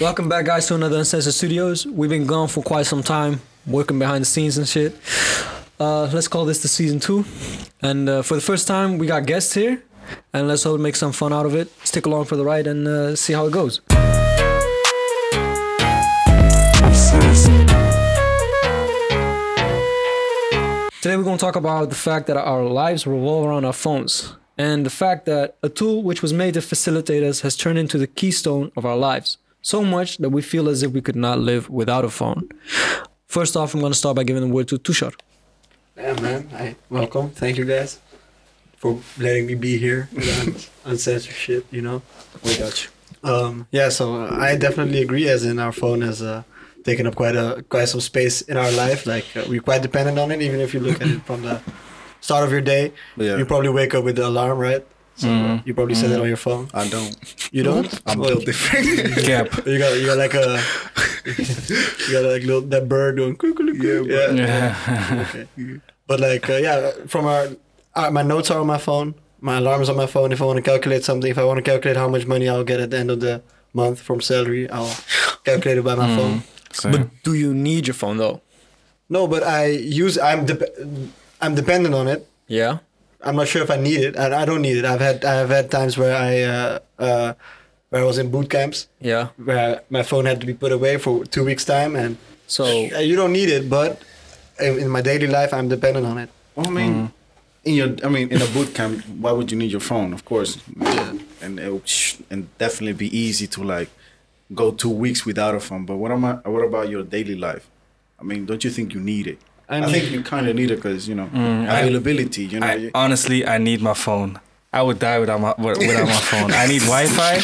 Welcome back, guys, to another Uncensored Studios. We've been gone for quite some time, working behind the scenes and shit. Uh, let's call this the season two. And uh, for the first time, we got guests here, and let's hope we make some fun out of it. Stick along for the ride and uh, see how it goes. Today, we're going to talk about the fact that our lives revolve around our phones and the fact that a tool which was made to facilitate us has turned into the keystone of our lives so much that we feel as if we could not live without a phone. First off, I'm going to start by giving the word to Tushar. Yeah, man. I welcome. Thank you guys for letting me be here with un- uncensored shit. You know. We got you. Um, yeah. So uh, I definitely agree. As in, our phone has uh, taken up quite a quite some space in our life. Like uh, we're quite dependent on it. Even if you look at it from the start of your day, Yeah. you probably wake up with the alarm, right? So uh, Mhm. you probably set it on your phone. I don't. You don't. I'm Well, built different. Gap. You got you got like a you got like little that bird doing Yeah, cuckoo. bro. Yeah. Okay. But like, uh, yeah, from our, uh, my notes are on my phone. My alarm's on my phone. If I want to calculate something, if I want to calculate how much money I'll get at the end of the month from salary, I'll calculate it by Hmm. my phone. So, But do you need your phone though? No, but I use. I'm de- I'm dependent on it. Yeah. I'm not sure if I need it. I, I don't need it. I've had I've had times where I uh, uh, where I was in boot camps Yeah. where my phone had to be put away for two weeks time, and So uh, you don't need it. But in, in my daily life, I'm dependent on it. Well, I mean, in your, I mean, in a boot camp, why would you need your phone? Of course, and it would sh- and definitely be easy to like go two weeks without a phone. But what am I? What about your daily life? I mean, don't you think you need it? I, need think you kind of need it because you know Mm, I- availability. you know, I, you- uh, honestly, I need my phone. I would die without my wi- without my phone. I need Wi-Fi.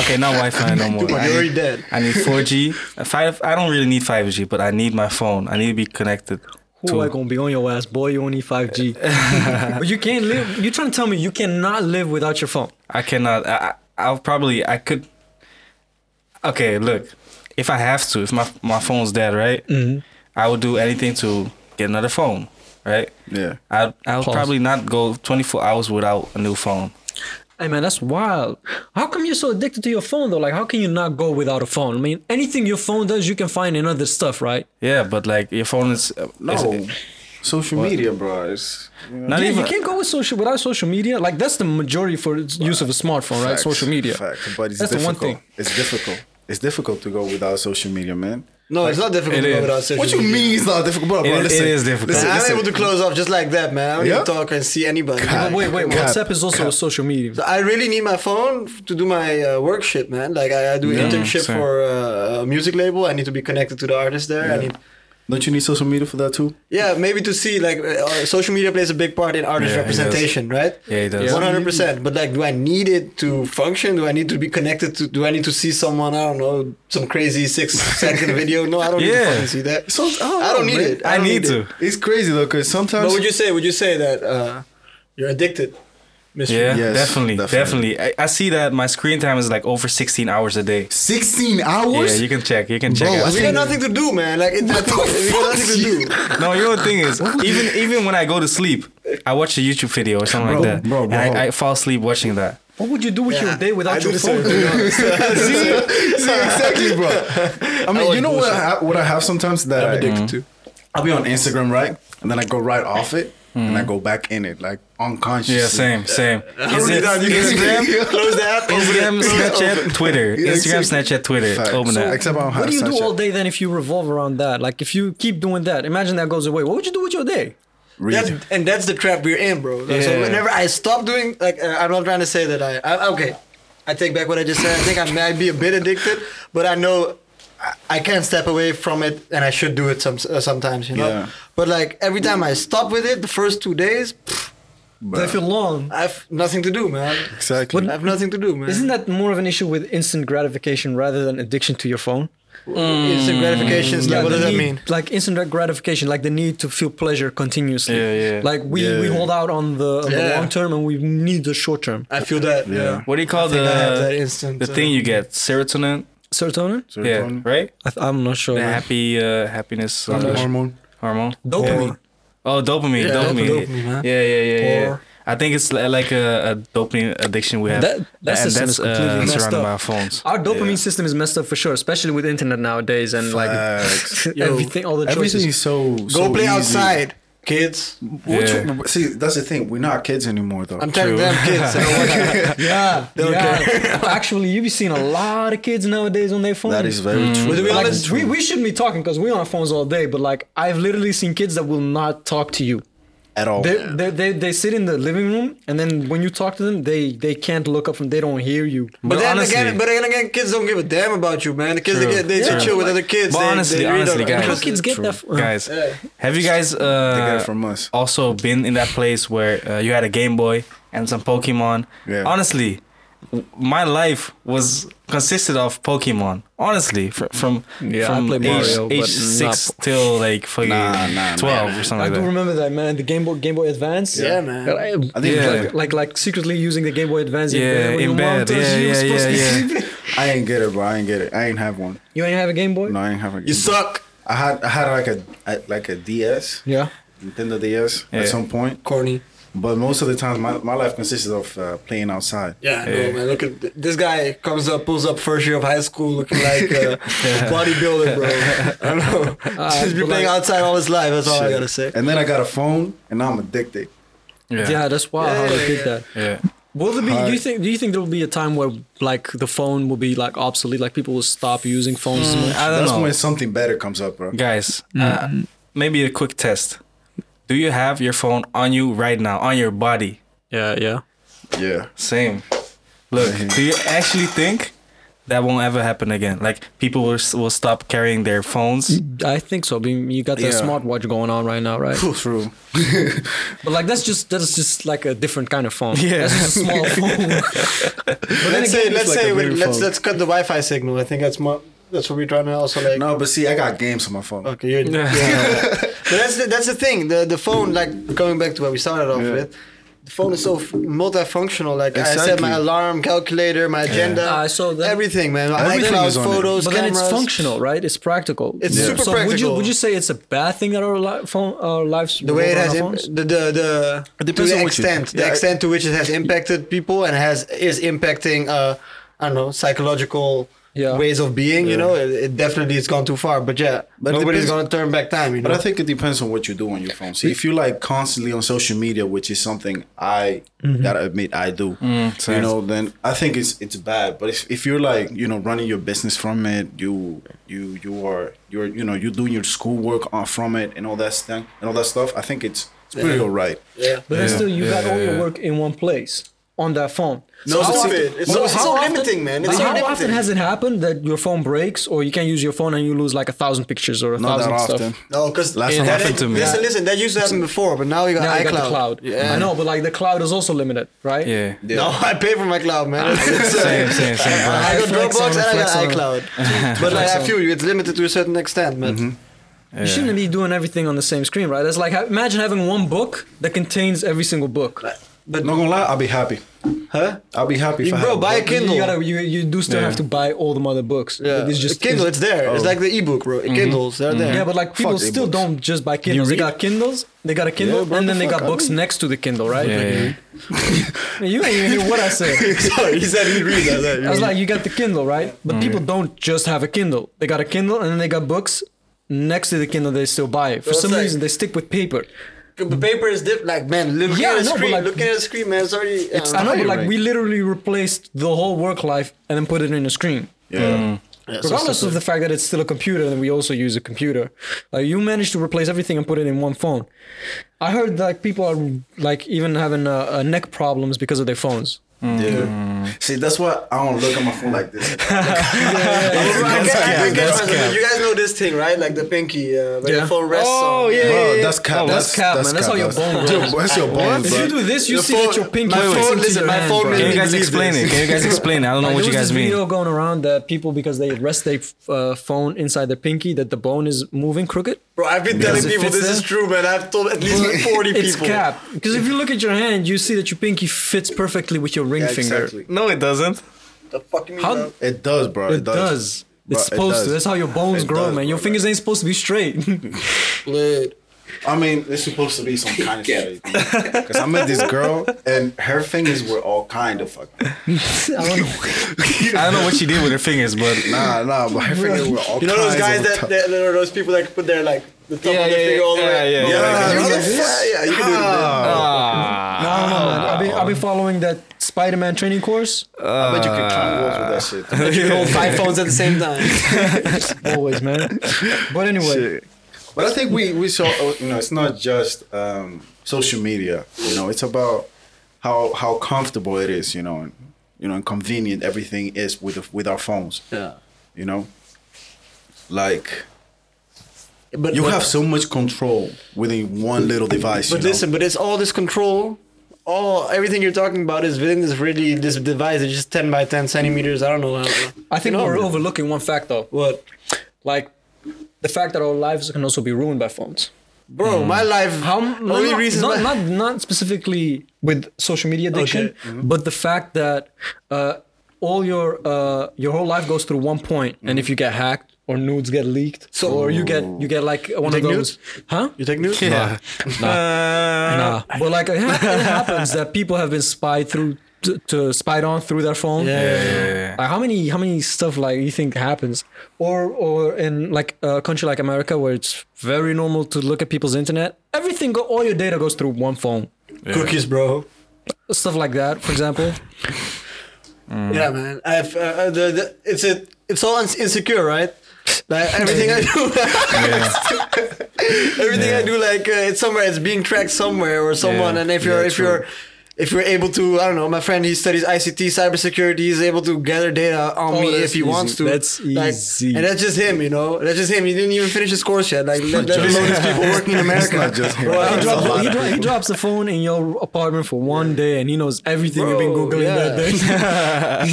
Okay, not Wi-Fi no more. Dude, I you're already need, dead. I need 4G. Five. I don't really need 5G, but I need my phone. I need to be connected. who to- I gonna be on your ass, boy? You only five G. but you can't live. You trying to tell me you cannot live without your phone? I cannot. I, I- I'll probably. I could. Okay, look. If I have to, if my my phone's dead, right? I would do anything to get another phone, right? yeah. I I would Pause. probably not go 24 hours without a new phone. Hey man, that's wild. How come you're so addicted to your phone though? Like, how can you not go without a phone? I mean, anything your phone does, you can find in other stuff, right? Yeah, but like your phone is No, is- social media, bro. It's you know, not yeah, even. you can't go with social without social media. Like, that's the majority for its use of a smartphone, right? Facts, Social media. fact, but it's That's the one difficult. thing. It's difficult. It's difficult to go without social media, man. No, it's not difficult it to go is. without social What you media. mean it's not difficult, bro? bro It is- listen, it is difficult. Listen, I'm listen. able to close off just like that, man. I don't Yeah? even talk and see anybody. God. Wait, wait. Cap, WhatsApp is also a social media. I really need my phone f- to do my uh, work shit, man. Like I, I do an Yeah, internship same. for uh, a music label. I need to be connected to the artist there. I Yeah. need, Don't you need social media for that too? yeah, maybe to see like uh, uh, social media plays a big part in artist Yeah, it does. representation, right? Yeah, it does. One hundred percent. But like, do I need it to function? Do I need to be connected to? Do I need to see someone? I don't know, some crazy six-second video. No, I don't need to Yeah. fucking see that. So, I don't need it. I don't need to. It's crazy though, because sometimes. But would you say would you say that uh, you're addicted? Mystery. Yeah, Yes, definitely, definitely. definitely. I, I see that my screen time is like over 16 hours a day. 16 hours? Yeah, you can check. You can Bro, check. I out. We got think- nothing to do, man. Like it's, I think we got nothing to do. No, your thing is even even when I go to sleep, I watch a YouTube video or something Bro, like that, bro, bro. and I, I fall asleep watching that. What would you do with Yeah, your day I without do your the same phone? thing. see, see, exactly, bro. I mean, you know what I, what I have sometimes that I'm I, Mm-hmm. addicted to. I'll be on Instagram, right? And then I go right off it and I go back in it, like unconscious. Hmm. Yeah, same, same. Is Only it that you can Instagram? Close the app. Instagram, Snapchat, Twitter. Yeah, Instagram, exactly. Snapchat, Twitter. Facts. Open So- that. Except I Oh, don't What have do you do Snapchat. all day then if you revolve around that? Like if you keep doing that, imagine that goes away. What would you do with your day? Read. That's, and that's the trap we're in, bro. Like, So Yeah. whenever I stop doing, like, uh, I'm not trying to say that I, I. Okay, I take back what I just said. I think I might be a bit addicted, but I know I, I can step away from it, and I should do it some uh, sometimes, you know. Yeah. But like every time I stop with it, the first two days, Bro. They feel long. I've nothing to do, man. Exactly. I've nothing to do, man. Isn't that more of an issue with instant gratification rather than addiction to your phone? instant gratification? is like, what the does that need- mean? Like instant gratification, like the need to feel pleasure continuously. Yeah, yeah. Like we, we Yeah. hold out on the, on the Yeah. long term and we need the short term. I feel that. Yeah. What do you call I think I have that the instant. the uh, thing you get? Serotonin. Serotonin? Yeah, Serotonin. right. I th- I'm not sure. The man. happy uh, happiness uh, Hormone. hormone. Dopamine. Oh, dopamine, Yeah, dopamine. dopamine, man. Yeah, yeah, yeah, yeah. Or- I think it's li- like a, a dopamine addiction we have. uh, That- that system is completely messed surrounded up. by our phones. Our dopamine system is messed up for sure, especially with internet nowadays and Facts. like Yo, everything, all the choices. Everything is so go Go play outside, kids. Which- Yeah. see, that's the thing. We're not kids anymore, though. I'm telling them kids. Yeah, yeah. Actually, you be seeing a lot of kids nowadays on their phones. that is very true. Mm. But to be Like, honest, we, we shouldn't be talking because we're on our phones all day, but like I've literally seen kids that will not talk to you. at all. They, they, they, they sit in the living room and then when you talk to them, they, they can't look up from they don't hear you. But No, then honestly. again, but then again, kids don't give a damn about you, man. The kids True, they get they true. just chill with other kids. But they, honestly, they read honestly, on- guys. How kids get True. that? f- guys, have you guys uh, got it from us. also been in that place where uh, you had a Game Boy and some Pokemon? Yeah. Honestly, w- my life was consisted of Pokemon. Honestly, fr- from Yeah, I from played age, Mario, age but six till like fucking Nah, nah, twelve man. or I something do like that. remember that man, the Game Boy Game Boy Advance. Yeah, man. But I- think Yeah. like, like like secretly using the Game Boy Advance in Yeah, bed when in your mom bed. tells Yeah, you you're yeah, supposed yeah, to be sleeping. I ain't get it, bro. I ain't get it. I ain't have one. You ain't have a Game Boy? No, I ain't have one. You suck. I had I had like a I- like a DS, Yeah. Nintendo DS Yeah. at some point. Corny. But most of the times, my, my life consisted of uh, playing outside. Yeah, I know, man. Look at th- this guy comes up, pulls up first year of high school, looking like a bodybuilder, bro. I don't know. Ah, Uh, He's but been playing like- outside all his life. That's all I Shit. gotta say. And then I got a phone, and now I'm addicted. Yeah, that's why how they did that. yeah. Will there be? Do you Hard. think? Do you think there will be a time where like the phone will be like obsolete? Like people will stop using phones Hmm. as much? I don't That's know. when something better comes up, bro. guys Mm-hmm. uh, maybe a quick test do you have your phone on you right now on your body Yeah, yeah. Yeah. same look Mm-hmm. do you actually think that won't ever happen again like people will, s- will stop carrying their phones I think so. Being you got the Yeah. smartwatch going on right now, right? True. but like that's just that's just like a different kind of phone. Yeah. that's just a small phone. but let's say, let's like say, a we, weird let's phone. let's cut the Wi-Fi signal. I think that's more. That's what we're trying to also like. No, but see, I got games on my phone. Okay, you're, yeah. but that's the, that's the thing. The the phone, like going back to where we started off Yeah. with, the phone is so f- multifunctional. Like I set Exactly. my alarm, calculator, my agenda, I saw that. everything, man. Everything iCloud is on it. photos, but then it's cameras. functional, right? It's practical. It's Yeah. super so Would you practical. would you say it's a bad thing that our li- phone our lives The way it revolve has around our imp- phones? the the the, to depends the on what you- extent the yeah, I- extent to which it has impacted people and has is impacting uh I don't know psychological Yeah. ways of being. You know, it, it definitely has gone too far. But yeah, But it nobody's depends- gonna turn back time. You know, But I think it depends on what you do on your phone. See, if you like constantly on social media, which is something I Mm-hmm. gotta admit I do, you same. know, then I think it's it's bad. But if, if you're like you know running your business from it, you you you are you're you know you're doing your schoolwork on- from it and all that stuff and all that stuff, I think it's it's pretty alright. yeah. But then Yeah. still, you Yeah, got all yeah, your yeah. work in one place on that phone. No, how stop often- it. It's so- it's so limiting, man. It's how so limiting. often has it happened that your phone breaks or you can't use your phone and you lose like a thousand pictures or a Not that thousand stuff? often. No, because Last time happened to me. Listen, listen, that used to happen before, but now we got Now iCloud. you got the cloud. Yeah. I know, but like the cloud is also limited, right? yeah No, I pay for my cloud, man. same same same bro. I got Flex Dropbox on, and I got flex on. iCloud. but like, I feel you, it's limited to a certain extent, man. You shouldn't be doing everything on the same screen, right? That's like ha- imagine having one book that contains every single book. But Not gonna lie, I'll be happy. huh? I'll be happy if You- I bro, have a buy a book. Kindle. You gotta, you, you do still Yeah. have to buy all the other books. yeah, But It's just Kindle. It's there. Oh. It's like the ebook, bro. Mm-hmm. Kindles, they're there. Yeah, but like people Fuck still ebooks. don't just buy Kindles. They read? got Kindles, they got a Kindle, bro, and the then they fuck, got I books next to the Kindle, right? yeah, yeah. Like, You ain't even hear what I said. Sorry, he said he reads that. I was like, you got the Kindle, right? Oh, But people don't just have a Kindle. They got a Kindle and then they got books. Next to the Kindle, they still buy it. For it's some like- reason, they stick with paper. the paper is different. Like, man, look Yeah, at the no, but screen. like- Looking at the screen, man. It's already. I don't I know, know. but like right. we literally replaced the whole work life and then put it in a screen. Yeah. Yeah, so Regardless stupid. of the fact that it's still a computer and we also use a computer, like you managed to replace everything and put it in one phone. I heard like people are like even having uh, uh, neck problems because of their phones. Yeah. See, that's why I don't look at my phone like this. Bro, I get- I cap, get- that's cap. You guys know this thing, right? Like the pinky, uh, where Yeah. the phone rests Oh, on. yeah. Bro, that's cap. Oh, that's cap, man. That's how your bone Dude, that's your bones, If bro. you do this, you Your see that phone- your pinky my sticks phone- into listen, your my hand, phone bro. really can you guys believe explain this. it can you guys explain it i don't know Like, what you there was guys this mean video going around that people because they rest their uh, phone inside their pinky that the bone is moving crooked. Bro, I've been Because telling it people fits this is there? true, man. I've told at least like 40 It's people. cap because if you look at your hand, you see that your pinky fits perfectly with your ring Yeah, finger. exactly. no it doesn't The fuck you mean, How- bro? It does, bro. It does. It's Bro, it supposed to. does. That's how your bones It grow, does, man. Your bro. fingers ain't supposed to be straight. Lit. I mean, it's supposed to be some kind of shit. Because I met this girl and her fingers were all kind of fucked. up. I don't know what she did with her fingers, but Nah, nah, but her fingers were all You know those guys kinds of that, tough. that you know, those people that could put their like the top Yeah, of their yeah, finger all the yeah, way. yeah, all yeah, the way yeah. down. Yeah, Like, yeah, yeah, you can do it. Ah. uh, No, no, no, man. I'll be, I'll be following that Spider Man training course. I bet you could climb walls with that shit. You can hold five phones at the same time. Always, man. But anyway, But I think we we saw oh, you know it's not just um, social media. You know, it's about how how comfortable it is. You know, and you know, and convenient everything is with the, with our phones. Yeah. You know, like But you but, have so much control within one little device. But you know? listen, but it's all this control. All everything you're talking about is within this really this device. It's just ten by ten centimeters. I don't know. How, I think you know, we're overlooking one fact though. what, Like the fact that our lives can also be ruined by phones. bro? Hmm. My life. How no, only not, reason not, my- not not specifically with social media addiction, mm-hmm. but the fact that uh, all your uh, your whole life goes through one point, and Mm-hmm. if you get hacked or nudes get leaked, so or you get you get like one of take those, nudes? huh? you take news? yeah. Nah, but like it, hap- it happens that people have been spied through to, to spied on through their phone. Yeah, yeah, Like how many how many stuff like you think happens, or or in like a country like America where it's very normal to look at people's internet. Everything, go, all your data goes through one phone. Cookies, bro. Stuff like that, for example. Hmm. Yeah, man. I've, uh, uh, the, the, it's a, it's all ins- insecure, right? Like everything I do, everything I do, like uh, it's somewhere, it's being tracked somewhere or someone. Yeah. And if you're, Yeah, if true. you're, if you're able to, I don't know, my friend he studies ICT, cybersecurity. He's able to gather data on Oh, me that's if he easy. wants to. That's Like, easy. And that's just him, you know. That's just him. He didn't even finish his course yet. Like let, let alone these people working in It's America. not just him. Bro, He, That's It's a drops- lot he, of dro- he people. drops the phone in your apartment for one day, and he knows everything you've been Bro, googling that day.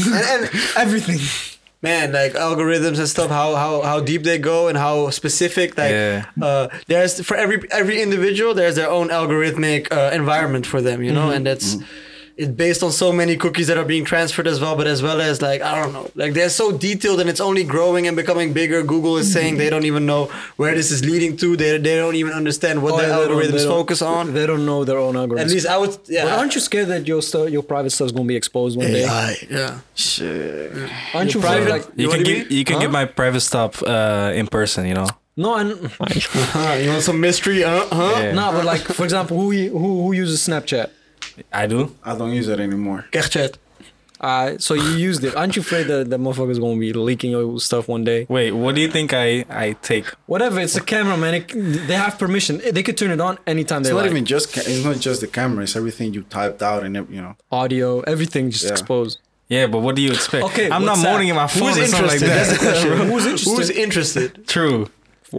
And, and everything. man like algorithms and stuff how how, how deep they go and how specific like Yeah. uh, there's for every every individual there's their own algorithmic uh, environment for them you know Mm-hmm. and that's it's based on so many cookies that are being transferred as well but as well as like i don't know like they're so detailed and it's only growing and becoming bigger google is Mm-hmm. saying they don't even know where this is leading to they, they don't even understand what Oh, their yeah, they don't- they algorithms don't- focus on They don't know their own algorithms. at least i would yeah But aren't you scared that your stuff, your private stuff's gonna be exposed one day? AI, yeah Shit. Aren't you afraid? private- Like, You What can do you get mean? you can get my private stuff uh, in person, you know. no, and huh, you want some mystery uh, huh Yeah. no, but like for example, who u- who who uses Snapchat? I do. I don't use that anymore. Gertrude. Uh, so you used it. Aren't you afraid that that motherfucker's gonna be leaking your stuff one day? Wait, what do you think I I take? Whatever, it's a camera, man. It, they have permission. They could turn it on anytime they It's not like. even just ca- it's not just the camera. It's everything you typed out and ev- you know. Audio, everything just Yeah. exposed. Yeah, but what do you expect? Okay, I'm not what's that? moaning in my Who's phone or something like interested? That's the that. question. Who's interested? Who's interested? True.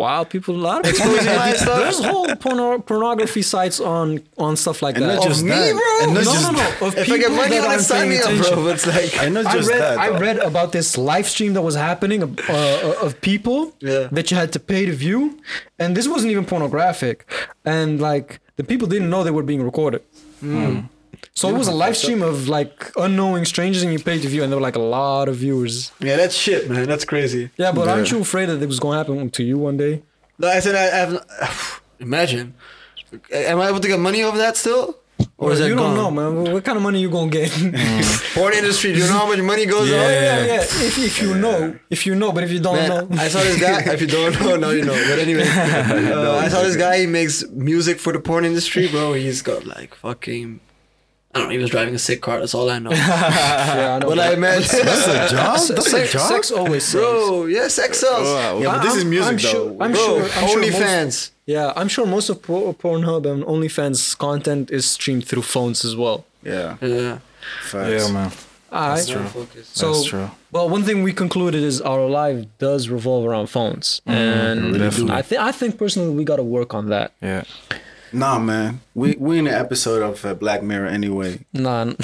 wow, people, a lot of people. my stuff? There's whole porno- pornography sites on on stuff like And that. not just me, that. bro? And no, not no, just no, no. Of If I get people money that on it, aren't sign paying me up, attention. bro. It's like And not I just read, that. I though. read about this live stream that was happening of, uh, of people Yeah. that you had to pay to view, and this wasn't even pornographic, and like the people didn't know they were being recorded. Hmm. So it was a live stream of like unknowing strangers, and you paid to view, and there were like a lot of viewers. yeah, that's shit, man. That's crazy. Yeah, but aren't Yeah. you afraid that it was going to happen to you one day? No, I said I, I've. Imagine, am I able to get money over that still? Or is that you gone? don't know, man. What- What kind of money you gonna get? Oh, Porn industry. Do you know how much money goes Yeah. on? yeah, yeah. If, if you know, if you know, but if you don't Man, know, I saw this guy. If you don't know, now you know. But anyway, uh, I saw this guy. He makes music for the porn industry, bro. He's got like fucking. I don't know. He was driving a sick car. That's all I know. yeah, I know. but I imagine, That's a job. That's a sex, job. sex always sells. bro. Yeah, sex sells. Yeah, but this I'm- is music I'm though. sure- I'm bro, sure- I'm sure most- OnlyFans. Yeah, I'm sure most of por- Pornhub and OnlyFans content is streamed through phones as well. yeah. yeah. Facts. man. That's Focus. So, That's true. Well, one thing we concluded is our life does revolve around phones, and Mm-hmm. definitely. I think I think personally we got to work on that. Yeah. Nah, man. We we in an episode of uh, Black Mirror anyway. Nah, n-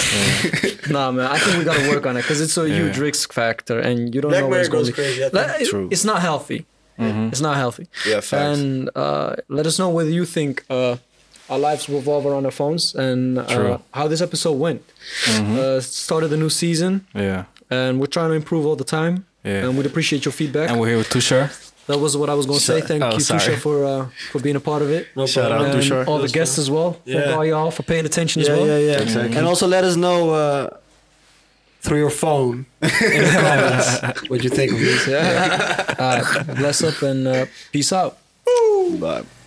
nah, man. I think we got to work on it because it's a huge risk factor, and you don't Black know where it's Mirror going. goes crazy, I Like, it- True. It's not healthy. Mm-hmm. It's not healthy. Yeah, facts. And uh, let us know whether you think uh, our lives revolve around our phones and uh, True. Mm-hmm. how this episode went. Uh, started the new season, Yeah. and we're trying to improve all the time. Yeah. and we'd appreciate your feedback. And we're here with Tushar. that was what I was going to say. Sorry. Thank Oh, you, sorry. Tusha, for uh, for being a part of it. No And Shout problem. out, Tushar. all the That's guests as well. Thank Yeah. all y'all for paying attention yeah, as well. yeah, yeah. And also let us know uh, through your phone in the comments what you think of this. Yeah. All right. Bless up and uh, peace out. Bye.